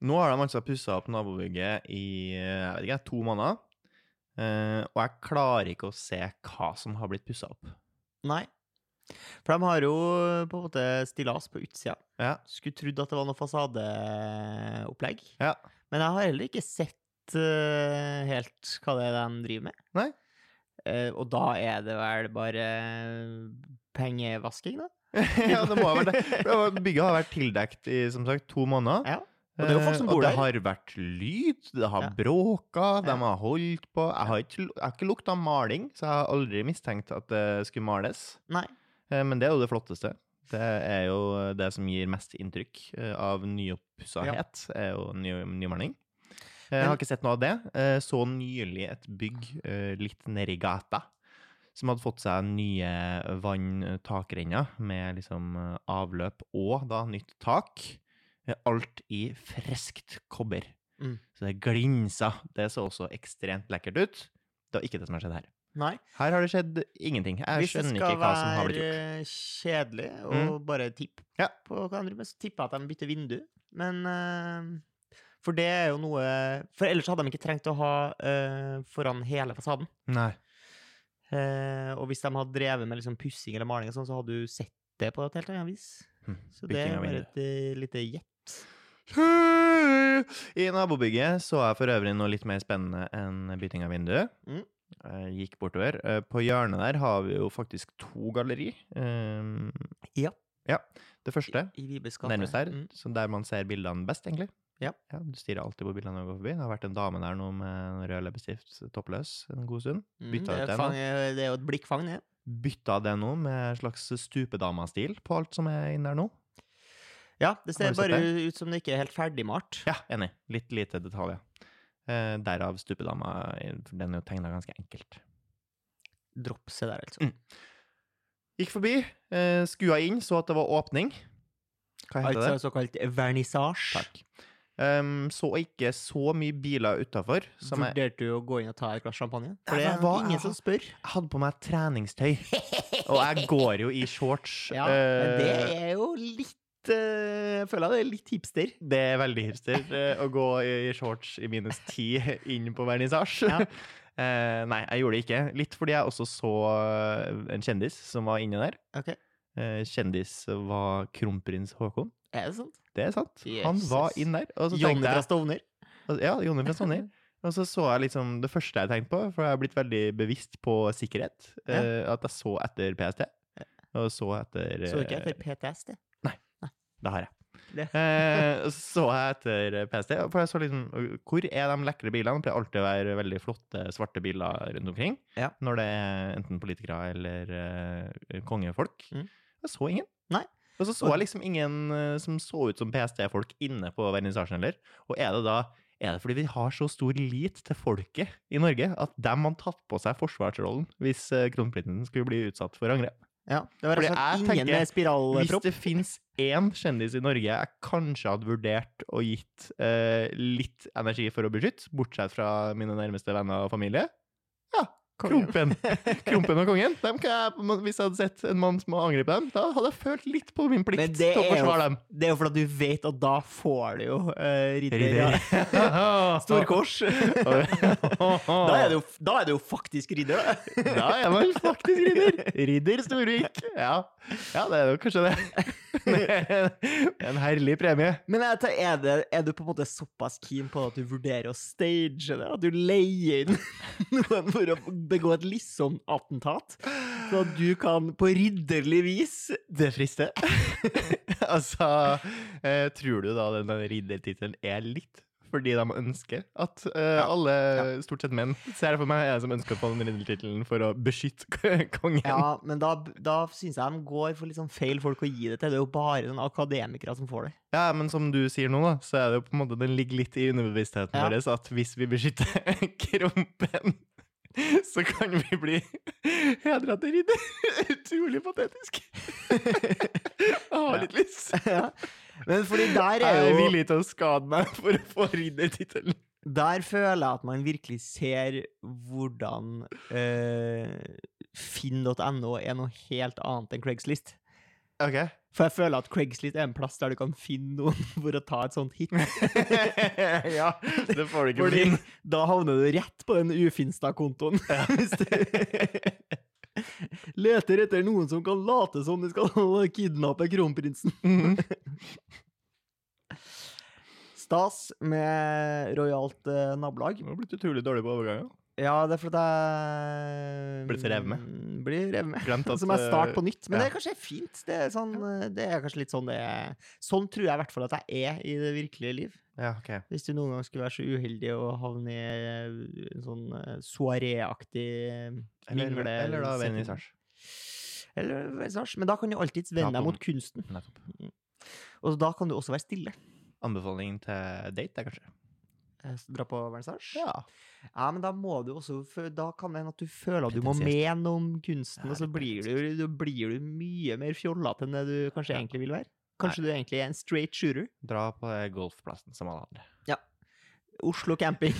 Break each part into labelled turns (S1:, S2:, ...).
S1: Nå har de altså pussa opp nabobygget i eh, jeg vet ikke, to måneder. Eh, og jeg klarer ikke å se hva som har blitt pussa opp.
S2: Nei. For de har jo på en måte stillas på utsida.
S1: Ja.
S2: Skulle trodd at det var noe fasadeopplegg.
S1: Ja.
S2: Men jeg har heller ikke sett eh, helt hva det er de driver med.
S1: Nei.
S2: Eh, og da er det vel bare eh, pengevasking, da?
S1: ja, det må ha vært det. For det var- Bygget har vært tildekt i som sagt, to måneder.
S2: Ja. Og det er jo folk som
S1: Eh, og
S2: bor der.
S1: det har vært lyd, det har
S2: Ja.
S1: bråka, de
S2: Ja.
S1: har holdt på. Jeg har ikke, jeg har ikke lukta maling, så jeg har aldri mistenkt at det skulle males.
S2: Nei.
S1: Eh, Men det er jo det flotteste. Det er jo eh, det som gir mest inntrykk eh, av nyoppussahet, er jo ny, nymaling. Eh, Jeg
S2: Men-
S1: har ikke sett noe av det. Eh, Så nylig et bygg eh, litt nedi gata som hadde fått seg nye vanntakrenner med liksom eh, avløp og da nytt tak. Eh, Alt i friskt kobber.
S2: Mm.
S1: Så det glinsa. Det så også ekstremt lekkert ut. Det var ikke det som har skjedd her.
S2: Nei.
S1: Her har det skjedd ingenting. Jeg
S2: Hvis det
S1: skjønner
S2: skal
S1: ikke hva som har blitt
S2: være
S1: gjort. Mm.
S2: kjedelig og bare tipp
S1: Ja.
S2: på hva andre, men så tipper jeg at de bytter vindu. Men eh, For det er jo noe For ellers hadde de ikke trengt å ha eh, foran hele fasaden.
S1: Nei.
S2: Eh, og hvis de hadde drevet med liksom pussing eller maling, og sånn, så hadde du sett det på et helt annet vis.
S1: Hm,
S2: Så det
S1: bytting
S2: er
S1: av
S2: bare
S1: vindu.
S2: et eh, lite gjett.
S1: I nabobygget så jeg for øvrig noe litt mer spennende enn bytting av vindu.
S2: Mm.
S1: Eh, Gikk bortover. Eh, På hjørnet der har vi jo faktisk to galleri. Um,
S2: Ja.
S1: ja. Det første,
S2: I Vibes gate.
S1: nærmest der,
S2: Mm.
S1: så der man ser bildene best, egentlig.
S2: Ja.
S1: Du stirrer alltid på bildene når du går forbi. Det har vært en dame der nå med rød leppestift, toppløs, en god stund.
S2: Mm,
S1: Bytta
S2: det,
S1: ut
S2: er
S1: den,
S2: fang, det er jo et blikkfang, det.
S1: Bytta det nå med en slags stupedamastil på alt som er inne der nå.
S2: Ja, det
S1: Har du
S2: ser
S1: sett
S2: bare ut som det ikke er helt ferdigmalt.
S1: Ja, enig. Litt lite detaljer. Eh, derav stupedama. eh, for Den er jo tegna ganske enkelt.
S2: Dropp se der, altså.
S1: Mm. Gikk forbi, eh, skua inn, så at det var åpning. Hva heter
S2: Altså
S1: det?
S2: såkalt vernissasje.
S1: Takk. Em, så ikke så mye biler utafor. Jeg
S2: Vurderte du å gå inn og ta et glass champagne? For det
S1: Ja, men
S2: er
S1: hva-
S2: ingen som spør.
S1: jeg hadde på meg treningstøy, og jeg går jo i shorts.
S2: Ja, men
S1: eh,
S2: det er jo litt eh, Jeg føler det er litt hipster.
S1: Det er veldig hipster eh, å gå i i shorts i minus ti inn på vernissasje.
S2: Ja.
S1: Eh, nei, jeg gjorde det ikke. Litt fordi jeg også så eh, en kjendis som var inne der.
S2: Ok.
S1: Eh, kjendis var kronprins Haakon.
S2: Er det sant?
S1: Det er sant. Han var
S2: Jesus.
S1: inn der. Og så
S2: Johnny
S1: tenkte
S2: fra
S1: jeg,
S2: Stovner.
S1: ja, Jonny fra Stovner. Og så så jeg liksom det første jeg tenkte på, for jeg har blitt veldig bevisst på sikkerhet, eh, at jeg så etter PST. Og så etter
S2: Så ikke
S1: eh,
S2: etter PTS, det.
S1: Det har jeg.
S2: Det-
S1: Eh, så jeg etter PST, for jeg så liksom Hvor er de lekre bilene? Det pleier alltid å være veldig flotte, svarte biler rundt omkring.
S2: Ja.
S1: Når det er enten politikere eller eh, kongefolk.
S2: Mm.
S1: Jeg så ingen.
S2: Nei.
S1: Og så så jeg liksom ingen eh, som så ut som PST-folk inne på vernissasjen heller. Og er det da er det fordi vi har så stor lit til folket i Norge at de har tatt på seg forsvarsrollen hvis eh, kronprinsen skulle bli utsatt for angrep?
S2: Ja, det var
S1: Fordi
S2: rett og slett
S1: jeg
S2: ingen
S1: tenker,
S2: med
S1: Hvis
S2: spiralpropp.
S1: det fins én kjendis i Norge jeg kanskje hadde vurdert og gitt eh, litt energi for å beskytte, bortsett fra mine nærmeste venner og familie Ja, Krompen. Krompen og kongen. Dem kan jeg, hvis jeg hadde sett en mann som angrep dem, da hadde jeg følt litt på min
S2: Men
S1: plikt
S2: det
S1: til å
S2: er jo-
S1: forsvare dem.
S2: Det er jo fordi at du vet at da får du jo uh, ridder. Ja. Stor kors. Da er, det jo, da er det jo faktisk ridder, da.
S1: Da er man faktisk ridder. Ridder Storvik. Ja. ja, det er jo kanskje det. En herlig premie.
S2: Men jeg tenker, er, det, er du på en måte såpass keen på at du vurderer å stage det? At du leier inn noen for å begå et Lisson-attentat? Så at du kan på ridderlig vis
S1: Det frister. altså, eh, tror du da den der riddertittelen er litt fordi de ønsker at eh, alle, stort sett menn, ser jeg for meg, er det som ønsker å få den riddertittelen for å beskytte k- kongen?
S2: Ja, men da, da syns jeg de går for litt sånn feil folk å gi det til. Det er jo bare den akademikere som får det.
S1: Ja, men som du sier nå, da, så er det jo på en måte den ligger litt i underbevisstheten
S2: Ja.
S1: vår at hvis vi beskytter krompen, så kan vi bli hedra til ridder. Utrolig patetisk. Jeg har
S2: Ja.
S1: litt lyst.
S2: Ja. Men fordi der er
S1: Jeg er
S2: jo
S1: villig til å skade meg for å få riddertittelen.
S2: Der føler jeg at man virkelig ser hvordan eh, finn.no er noe helt annet enn Craigslist.
S1: Ok.
S2: For jeg føler at Craigslist er en plass der du kan finne noen for å ta et sånt hit.
S1: ja, det får du ikke
S2: Fordi
S1: bli.
S2: da havner du rett på den Ufinstad-kontoen. Hvis du leter etter noen som kan late som de skal kidnappe kronprinsen.
S1: Mhm.
S2: Stas med rojalt eh, nabolag.
S1: Du har blitt utrolig dårlig på overganger.
S2: Ja, det er fordi jeg
S1: Blir så rev med.
S2: Mm, Blir revet med.
S1: Glemt at eh,
S2: Som er start på nytt. Men
S1: ja.
S2: det er kanskje fint. Det er, sånn, eh, det er kanskje litt sånn det er. Sånn tror jeg i hvert fall at jeg er i det virkelige liv.
S1: eh, Ja, ok.
S2: Hvis du noen gang skulle være så uheldig å havne i eh, en sånn eh, soaré-aktig eh,
S1: Eller,
S2: mingle...
S1: eller da
S2: setting.
S1: vernissasje.
S2: Eller vernissasje. Men da kan du alltids vende
S1: Prate
S2: deg
S1: om-
S2: mot kunsten.
S1: Nettopp.
S2: Og da kan du også være stille.
S1: Anbefaling til date, det, kanskje?
S2: Eh, så Dra på vernissasje.
S1: Ja.
S2: Ja, men da må du også fø- Da kan det hende at du føler at du må
S1: Pretensiøst.
S2: mene om kunsten,
S1: Ja,
S2: og så
S1: litt
S2: blir du, da blir du mye mer fjollete enn det du kanskje
S1: Ja.
S2: egentlig vil være. Kanskje du egentlig er en straight shooter.
S1: Dra på eh, golfplassen som alle andre.
S2: Oslo camping.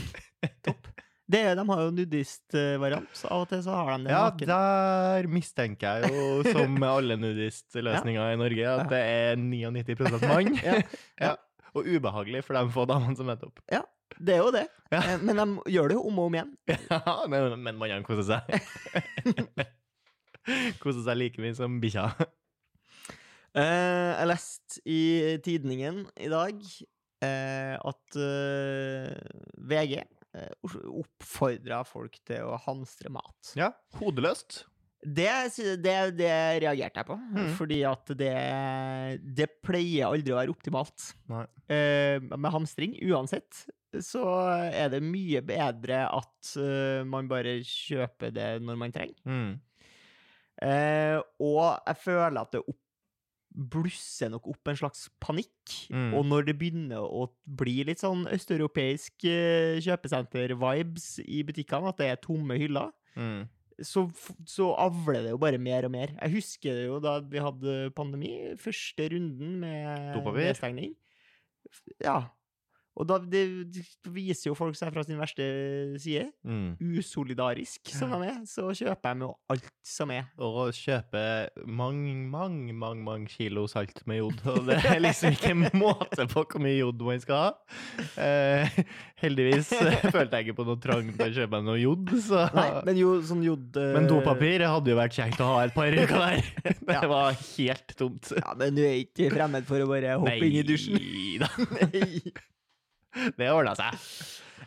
S2: Topp. Det, de har jo nudistvariant, så av og til så har de det.
S1: Ja,
S2: naken.
S1: der mistenker jeg jo, som med alle nudistløsninger i Norge,
S2: Ja.
S1: at det er 99 mann.
S2: Ja.
S1: Ja. Og ubehagelig for de få damene som møter opp.
S2: Det er jo det.
S1: Ja.
S2: Eh, Men de gjør det jo om og om igjen.
S1: Ja, men, men mannene koser seg. koser seg like mye som bikkja.
S2: Eh, jeg leste i tidningen i dag eh, at eh, VG eh, oppfordra folk til å hamstre mat.
S1: Ja, hodeløst.
S2: Det, sy- det, det reagerte jeg på,
S1: Mhm.
S2: fordi at det, det pleier aldri å være optimalt.
S1: Nei.
S2: Eh, med hamstring, uansett, så er det mye bedre at eh, man bare kjøper det når man trenger.
S1: Mm.
S2: Eh, og jeg føler at det opp, blusser nok opp en slags panikk.
S1: Mm.
S2: Og når det begynner å bli litt sånn østeuropeisk eh, kjøpesenter-vibes i butikkene, at det er tomme hyller,
S1: Mm.
S2: så, f- så avler det jo bare mer og mer. Jeg husker det jo da vi hadde pandemi, første runden med
S1: Dopapir.
S2: nedstengning. F- Ja. Og da det, det viser jo folk seg fra sin verste side.
S1: Mm.
S2: Usolidarisk som de er, så kjøper de jo alt som er.
S1: Og kjøpe mange, mange, mange, mange kilo salt med jod. Og det er liksom ikke måte på hvor mye jod man skal ha. Eh, heldigvis eh, følte jeg ikke på noe trang til å kjøpe meg noe jod, så
S2: Nei, men jo, sånn jod... eh,
S1: Men dopapir hadde jo vært kjekt å ha et par uker der. Det
S2: Ja.
S1: var helt tomt.
S2: Ja, men du er ikke fremmed for å bare hoppe inn i dusjen.
S1: Nei da.
S2: Nei.
S1: Det ordna seg.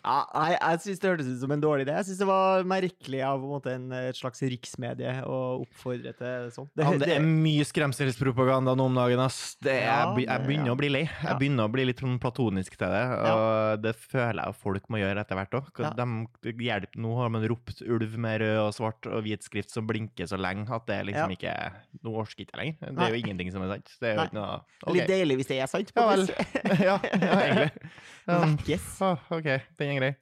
S2: Ja, nei, jeg syns det hørtes ut som en dårlig idé. Jeg syns det var merkelig av på en måte en, et slags riksmedie å oppfordre til sånt.
S1: Det, ja, det er mye skremselspropaganda nå om dagen. ass. Det er,
S2: Ja,
S1: jeg be- jeg
S2: det-
S1: begynner
S2: ja.
S1: å bli lei. Jeg
S2: Ja.
S1: begynner å bli litt sånn platonisk til det. Og det føler jeg folk må gjøre etter hvert òg.
S2: Ja.
S1: Nå har man ropt ulv med rød og svart og hvit skrift som blinker så lenge at det er liksom ikke Nå orker jeg ikke lenger. Det
S2: Nei.
S1: er jo ingenting som er sant. Det er jo
S2: Nei.
S1: ikke noe
S2: litt
S1: OK.
S2: deilig hvis det er sant. på
S1: Ja
S2: en
S1: vel.
S2: måte.
S1: ja, ja, egentlig. Um,
S2: Vekkes.
S1: Ah, ok, den er grei.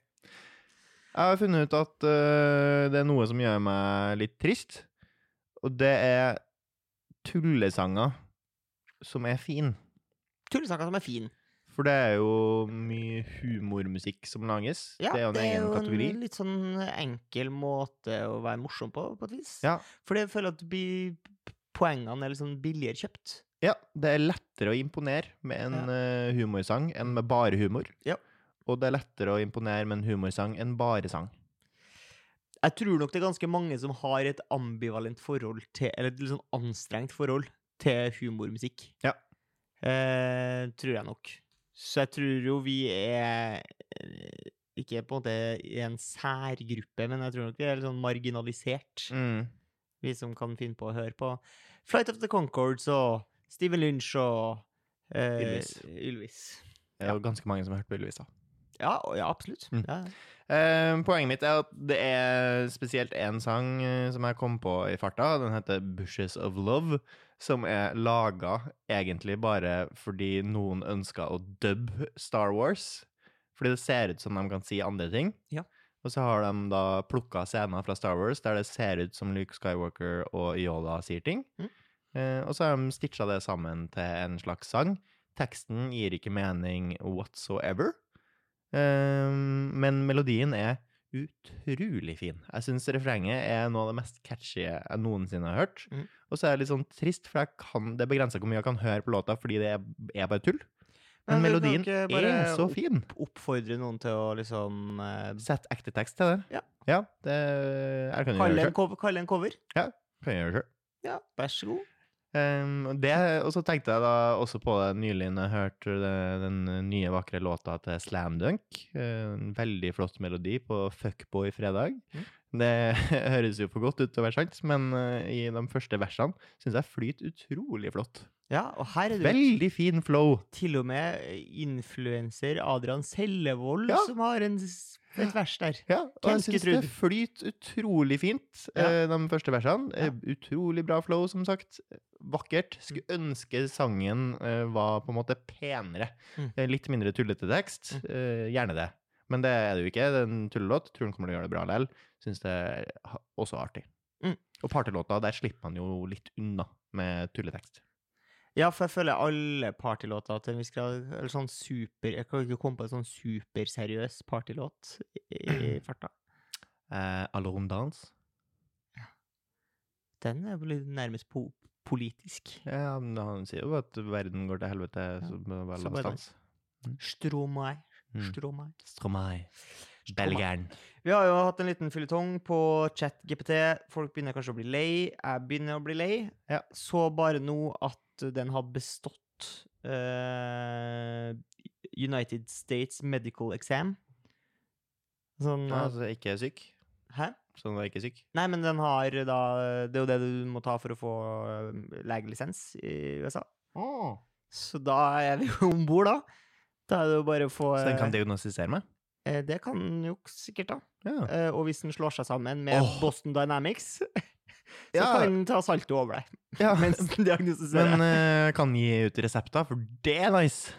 S1: Jeg har funnet ut at øh, det er noe som gjør meg litt trist, og det er tullesanger som er fin.
S2: Tullesaker som er fin.
S1: For det er jo mye humormusikk som lages.
S2: Ja,
S1: det er jo en egen kategori.
S2: litt sånn enkel måte å være morsom på, på et vis.
S1: Ja.
S2: For jeg føler at bi- poengene er litt sånn billigere kjøpt.
S1: Ja, det er lettere å imponere med en øh, humorsang enn med bare humor.
S2: Ja.
S1: Og det er lettere å imponere med en humorsang enn bare sang.
S2: Jeg tror nok det er ganske mange som har et ambivalent forhold til Eller et litt sånn anstrengt forhold til humormusikk.
S1: Ja.
S2: Eh, tror jeg nok. Så jeg tror jo vi er eh, Ikke på en måte i en særgruppe, men jeg tror nok vi er litt sånn marginalisert,
S1: Mm.
S2: vi som kan finne på å høre på Flight of the Concords og Steven Lynch og eh,
S1: Ylvis.
S2: Ylvis.
S1: Det er jo ganske mange som har hørt på Ylvis, da.
S2: Ja, og- ja absolutt.
S1: Mm.
S2: Ja.
S1: Eh, poenget mitt er at det er spesielt én sang eh, som jeg kom på i farta. Den heter 'Bushes of Love', som er laga egentlig bare fordi noen ønska å dubbe Star Wars. Fordi det ser ut som de kan si andre ting.
S2: Ja.
S1: Og så har de da plukka scener fra Star Wars der det ser ut som Luke Skywalker og Yoda sier ting.
S2: Mm.
S1: Eh, og så har de stitcha det sammen til en slags sang. Teksten gir ikke mening whatsoever. Ehm, men melodien er utrolig fin. Jeg syns refrenget er noe av det mest catchy jeg noensinne har hørt.
S2: Mhm.
S1: Og så er det litt sånn trist, for jeg kan, det begrenser hvor mye jeg kan høre på låta, fordi det er, er bare tull. Men,
S2: Men vil du
S1: melodien
S2: ikke eh, bare
S1: er så
S2: opp-
S1: fin.
S2: Oppfordre noen til å liksom eh,
S1: Sett ekte tekst til det.
S2: Ja.
S1: det jeg kan jo gjøre
S2: kalle
S1: det
S2: en,
S1: selv.
S2: cover, kalle en cover.
S1: Kan jeg gjøre det selv.
S2: Ja, vær så god.
S1: Um, og det, og så tenkte jeg da også på det nylig når jeg hørte det- den nye vakre låta til Slam Dunk. Eh, En veldig flott melodi på Fuckboy fredag.
S2: Mm.
S1: Det høres jo for godt ut til å være sant, men eh, i de første versene syns jeg flyter utrolig flott.
S2: Ja, og her er det jo
S1: Veldig fin flow.
S2: til og med eh, influenser Adrian Sellevold
S1: Ja.
S2: som har en, s- et vers der.
S1: Ja, og jeg syns
S2: Kensketrud.
S1: det flyter utrolig fint,
S2: Ja.
S1: eh, de første versene. Eh,
S2: Ja.
S1: Utrolig bra flow, som sagt. Vakkert. Skulle ønske sangen eh, var på en måte penere.
S2: Mm.
S1: Eh, Litt mindre tullete tekst. Eh, Gjerne det. Men det er det jo ikke. Det er en tullelåt. Tror den kommer til å gjøre det bra likevel. Syns det er ha- også artig.
S2: Mm.
S1: Og partylåta, der slipper man jo litt unna med tulletekst.
S2: Ja, for jeg føler alle partylåter til en viss grad Eller sånn super Jeg kan ikke komme på en sånn superseriøs partylåt i, i farta.
S1: Eh, Alone Dance.
S2: Den er vel nærmest po politisk.
S1: Ja, men han sier jo at verden går til helvete, så bare
S2: så
S1: la
S2: bare
S1: oss danse.
S2: Stromae.
S1: Mm.
S2: Stromae.
S1: Stromae. Belgeren.
S2: Vi har jo hatt en liten fylletong på ChatGPT. Folk begynner kanskje å bli lei. Jeg begynner å bli lei.
S1: Ja.
S2: Så bare nå at den har bestått eh, United States Medical Exam. Sånn
S1: Ja,
S2: at-
S1: altså ikke syk.
S2: Hæ?
S1: Så den var ikke syk.
S2: Nei, men den har da Det er jo det du må ta for å få eh, legelisens i USA.
S1: Ah.
S2: Så da er vi jo om bord, da. Da er det jo bare å få
S1: Så den kan
S2: eh,
S1: diagnostisere meg?
S2: eh, Det kan den jo sikkert, da.
S1: Ja.
S2: Eh, Og hvis den slår seg sammen med
S1: Åh.
S2: Boston Dynamics, så
S1: Ja.
S2: kan den ta salto over deg.
S1: Men,
S2: Mens den diagnostiserer.
S1: men eh, kan gi ut resepter, for det er nice!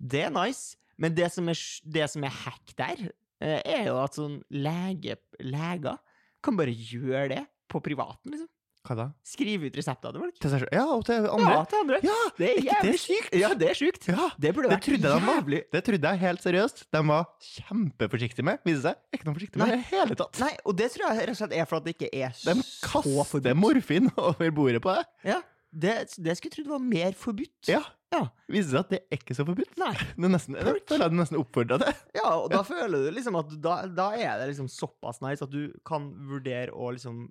S2: det er nice, men det som er, sj- det som er hack der, eh, er jo at sånn lege, leger kan bare gjøre det på privaten, liksom.
S1: Hva da?
S2: Skrive ut resepter til folk.
S1: Til seg selv? Ja, og til
S2: Ja,
S1: andre?
S2: til andre.
S1: Ja!
S2: Det er
S1: ikke det
S2: jævlig
S1: sykt?
S2: Ja, det er sjukt.
S1: Ja!
S2: Det burde
S1: Det
S2: vært
S1: trodde jeg de var.
S2: jævlig.
S1: Det trodde jeg helt seriøst. De var kjempeforsiktige med, viser det seg. Ikke noe forsiktig med det i det hele tatt.
S2: Nei, og det tror jeg rett og slett er for at det ikke er
S1: De
S2: så
S1: kaster
S2: forbudt.
S1: morfin over bordet på deg.
S2: Det, det skulle jeg trodd var mer forbudt.
S1: Ja.
S2: Ja.
S1: Viser seg at det er ikke så forbudt.
S2: Nei.
S1: Det er nesten, jeg føler jeg det nesten oppfordra til.
S2: og da føler du liksom at da, da er det liksom såpass nice at du kan vurdere å liksom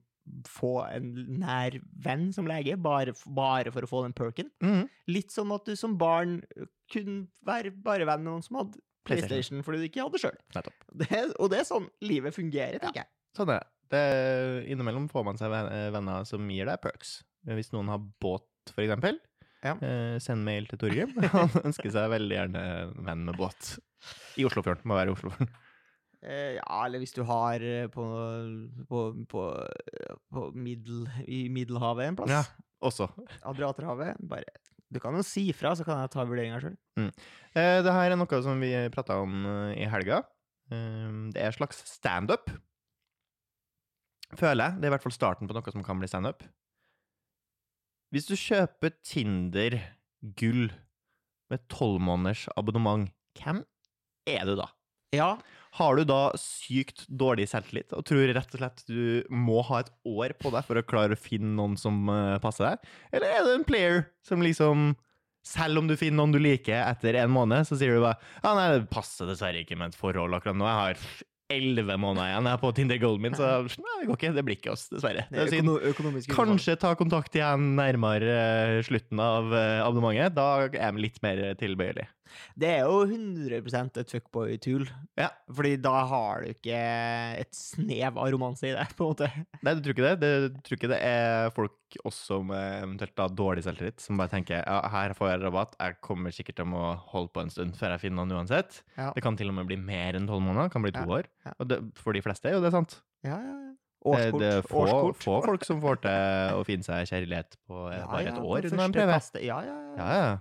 S2: få en nær venn som lege, bare, f- bare for å få den perken.
S1: Mhm.
S2: Litt som at du som barn kunne være bare venn med noen som hadde
S1: PlayStation.
S2: PlayStation fordi du ikke hadde sjøl.
S1: Nettopp.
S2: Og det er sånn livet fungerer, tenker jeg.
S1: Sånn er det. det. Innimellom får man seg ven- eh, venner som gir deg perks. Hvis noen har båt, for eksempel,
S2: Ja.
S1: eh, send mail til Torgrim. Han ønsker seg veldig gjerne venn med båt. I Oslofjorden. Må være i Oslofjorden.
S2: Eh, ja, eller hvis du har eh, på, på, på, eh, på middel, i Middelhavet en plass.
S1: Ja. Også.
S2: Adriaterhavet. Bare Du kan jo si ifra, så kan jeg ta vurderinga sjøl.
S1: Eh, det her er noe som vi prata om eh, i helga. Eh, det er en slags standup. Føler jeg. Det er i hvert fall starten på noe som kan bli standup. Hvis du kjøper Tinder gull med tolv måneders abonnement, hvem er du da?
S2: Ja.
S1: Har du da sykt dårlig selvtillit og tror rett og slett du må ha et år på deg for å klare å finne noen som eh, passer deg? Eller er du en player som liksom selv om du finner noen du liker etter en måned, så sier du bare ja, nei, det passer dessverre ikke med et forhold akkurat nå. Jeg har elleve måneder igjen jeg er på Tinder Golden min, så nei, det går ikke. Det blir ikke oss, dessverre. Det er synd.
S2: økonomisk
S1: Kanskje ta kontakt igjen nærmere eh, slutten av eh, abonnementet. Da er jeg litt mer eh, tilbøyelig.
S2: Det er jo 100 et fuckboy-tool.
S1: Ja.
S2: Fordi da har du ikke et snev av romanse i det, på en måte.
S1: Nei, du tror ikke det? Du tror ikke det er folk også med eventuelt da dårlig selvtillit, som bare tenker ja, her får jeg rabatt, jeg kommer sikkert til å må holde på en stund før jeg finner noen uansett.
S2: Ja.
S1: Det kan til og med bli mer enn tolv måneder, det kan bli to
S2: Ja,
S1: år.
S2: ja.
S1: Og det, for de fleste er jo det sant.
S2: Ja, ja, ja.
S1: Eh,
S2: Årskort.
S1: Det er få,
S2: årskort.
S1: få folk som får til å finne seg kjærlighet på eh,
S2: Ja,
S1: bare
S2: ja,
S1: et
S2: på
S1: år under en
S2: første
S1: prøve.
S2: kastet. Ja, ja, ja.
S1: Ja, ja.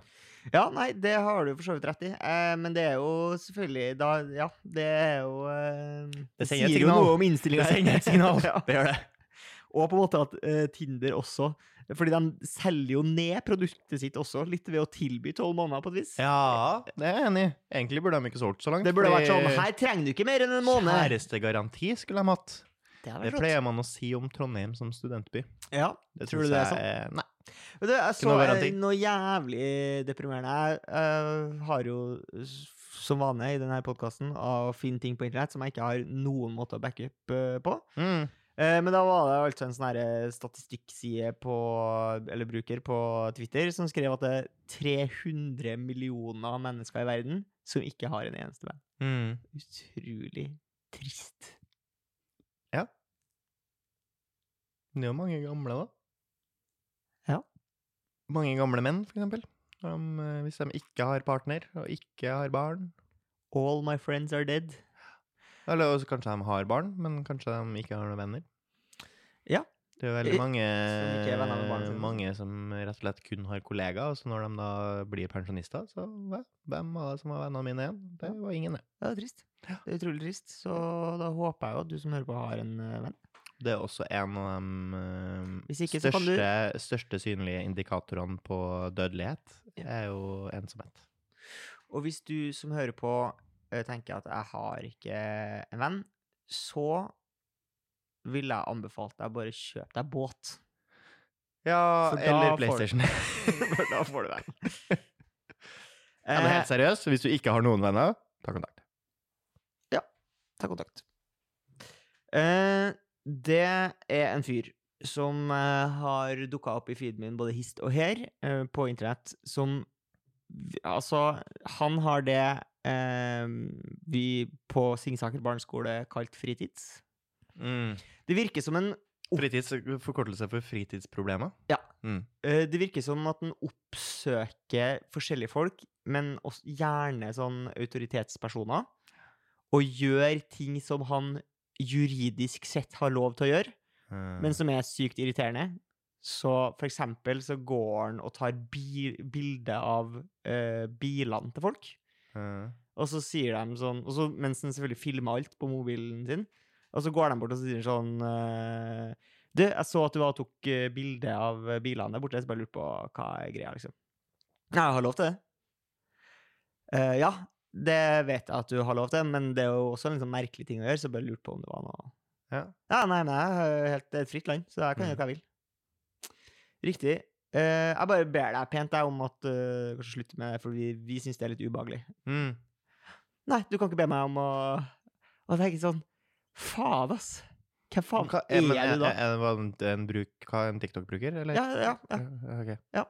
S2: Ja, nei, det har du for så vidt rett i. Eh, men det er jo selvfølgelig da, Ja, det er jo eh,
S1: Det sender et
S2: sier jo
S1: signal.
S2: noe om innstillinga.
S1: Det sender et signal.
S2: ja.
S1: Det gjør det.
S2: Og på en måte at eh, Tinder også Fordi de selger jo ned produktet sitt også, litt ved å tilby tolv måneder, på et vis.
S1: Ja, det er jeg enig i. Egentlig burde de ikke solgt så langt.
S2: Det burde vært sånn
S1: fordi
S2: Her trenger du ikke mer enn en måned!
S1: Kjærestegaranti skulle de hatt.
S2: Det hadde
S1: Det
S2: vært flott.
S1: pleier man å si om Trondheim som studentby.
S2: Ja.
S1: Det
S2: Tror du
S1: synes
S2: det er
S1: jeg Nei.
S2: Vet du, jeg så
S1: noe
S2: eh,
S1: garanti.
S2: noe jævlig deprimerende. Jeg eh, har jo s- som vane i denne podkasten å finne ting på internett som jeg ikke har noen måte å backe opp eh, på.
S1: Mm.
S2: Eh, men da var det altså en sånn her, eh, statistikkside på Eller bruker på Twitter som skrev at det er 300 millioner mennesker i verden som ikke har en eneste venn.
S1: Mm.
S2: Utrolig trist.
S1: Det er jo mange gamle, da.
S2: Ja.
S1: Mange gamle menn, for eksempel. Om, eh, hvis de ikke har partner, og ikke har barn.
S2: All my friends are dead.
S1: Eller også kanskje de har barn, men kanskje de ikke har noen venner.
S2: Ja.
S1: Det er jo
S2: I-
S1: veldig mange,
S2: som ikke er venner med barna sine.
S1: mange som rett og slett kun har kollegaer, og så når de da blir pensjonister, så hva? hvem var det som var vennene mine igjen? Det var ingen, det.
S2: Ja, Det er trist. Det er utrolig trist. Så da håper jeg jo at du som hører på, har en eh, venn.
S1: Det er også en av de eh,
S2: Hvis ikke, så kan du-
S1: største, største synlige indikatorene på dødelighet, er jo ensomhet.
S2: Og hvis du som hører på eh, tenker at jeg har ikke en venn, så vil jeg anbefale deg å bare kjøpe deg båt.
S1: Ja,
S2: For da
S1: eller
S2: får-
S1: PlayStation.
S2: For da får du venn.
S1: Ja, men
S2: Eh,
S1: helt seriøst, hvis du ikke har noen venner, ta kontakt.
S2: ta kontakt. Eh, det er en fyr som eh, har dukka opp i feeden min både hist og her eh, på internett, som v- Altså, han har det eh, vi på Singsaker barneskole kalt fritids. Det virker som en
S1: Mm. Fritids, forkortelse for fritidsproblemer.
S2: Ja.
S1: Mm.
S2: Eh, Det virker som at den oppsøker forskjellige folk, men også gjerne sånn autoritetspersoner, og gjør ting som han juridisk sett har lov til å gjøre,
S1: Eh,
S2: men som er sykt irriterende. Så for eksempel så går han og tar bi bilde av eh, bilene til folk,
S1: eh,
S2: og så sier de sånn og så, Mens den selvfølgelig filmer alt på mobilen sin. Og så går de bort og så sier de sånn eh, Du, jeg så at du var og tok eh, bilde av eh, bilene der borte. Så bare lurte på hva er greia, liksom. Ja, jeg har lov til det. «Eh, ja, det vet jeg at du har lov til, men det er jo også en litt sånn merkelig ting å gjøre, så bare lurte på om det var noe
S1: Ja.
S2: ja nei, men jeg er helt, det er et fritt land, så jeg kan gjøre hva jeg vil. Riktig. Eh, jeg bare ber deg pent deg om at eh, kanskje slutte med det, for vi, vi syns det er litt ubehagelig.
S1: mm.
S2: Nei, du kan ikke be meg om å Og jeg tenker sånn Faen, ass! Hvem faen
S1: Hva-
S2: er,
S1: men
S2: du da?
S1: Er, er, var det en, eh, bruk, hva, en TikTok-bruker, eller? Eh,
S2: ja, ja, ja.
S1: Ok.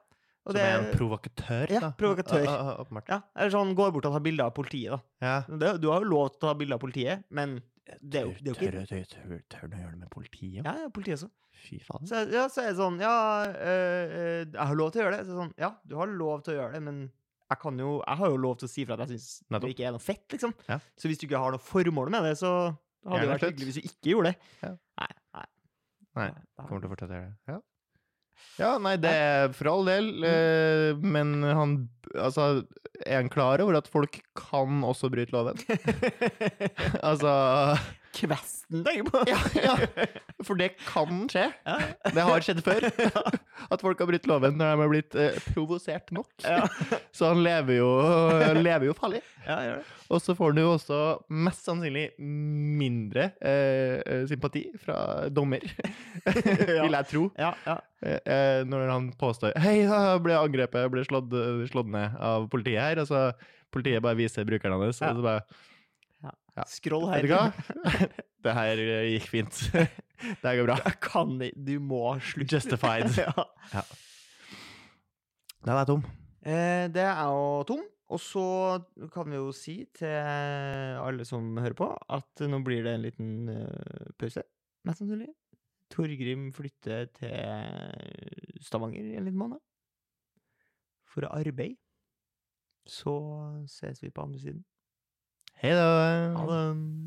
S2: Og
S1: Som
S2: det,
S1: er en provokatør,
S2: Ja,
S1: da?
S2: provokatør.
S1: Ah, ah, ah, Åpenbart.
S2: ja, eller sånn går bort og tar bilder av politiet, da.
S1: Ja.
S2: Det, du har jo lov til å ta bilder av politiet, men det er jo, det er jo ikke
S1: Tør- tør- tør- Tør du Mm. å gjøre det med politiet?
S2: ja, ja, politiet også.
S1: Fy faen.
S2: Så, ja, så er det sånn Ja, øh, øh, jeg har lov til å gjøre det. Så er det sånn, ja, du har lov til å gjøre det, men jeg, kan jo, jeg har jo lov til å si fra at jeg syns det
S1: Nettopp.
S2: ikke er noe fett, liksom.
S1: Ja.
S2: Så hvis du ikke har noe formål med det, så hadde det
S1: Gjerne
S2: vært
S1: slutt.
S2: hyggelig hvis du ikke gjorde det.
S1: Ja.
S2: Nei, nei.
S1: Nei,
S2: Da-
S1: Kommer til å fortsette å gjøre det. Ja. Ja, nei, det er for all
S2: Mm.
S1: del, eh, men han Altså, er han klar over at folk kan også bryte loven? altså
S2: Kvesten tenker jeg på.
S1: ja, ja, for det kan skje.
S2: Ja.
S1: Det har skjedd før. At folk har brutt loven når de har blitt eh, provosert nok.
S2: Ja.
S1: Så han lever jo, lever jo farlig.
S2: Ja, gjør det.
S1: Og så får han jo også mest sannsynlig mindre eh, eh, sympati fra dommer, vil jeg tro.
S2: Ja, ja.
S1: Eh, eh, når han påstår Hei, jeg ble angrepet, jeg ble slått, slått ned av politiet her. Og så politiet bare viser brukeren hans,
S2: Ja.
S1: og så bare Ja.
S2: Skroll her.
S1: Vet du hva? det her eh, gikk fint. det her går bra.
S2: Jeg kan i- Du må slutte.
S1: Justified.
S2: ja.
S1: Da var jeg tom.
S2: eh, det er jo tom. Og så kan vi jo si til alle som hører på, at nå blir det en liten eh, pause, mest sannsynlig. Torgrim flytter til Stavanger i en liten måned. For arbeid. Så ses vi på andre siden.
S1: Hei da.
S2: Ha det.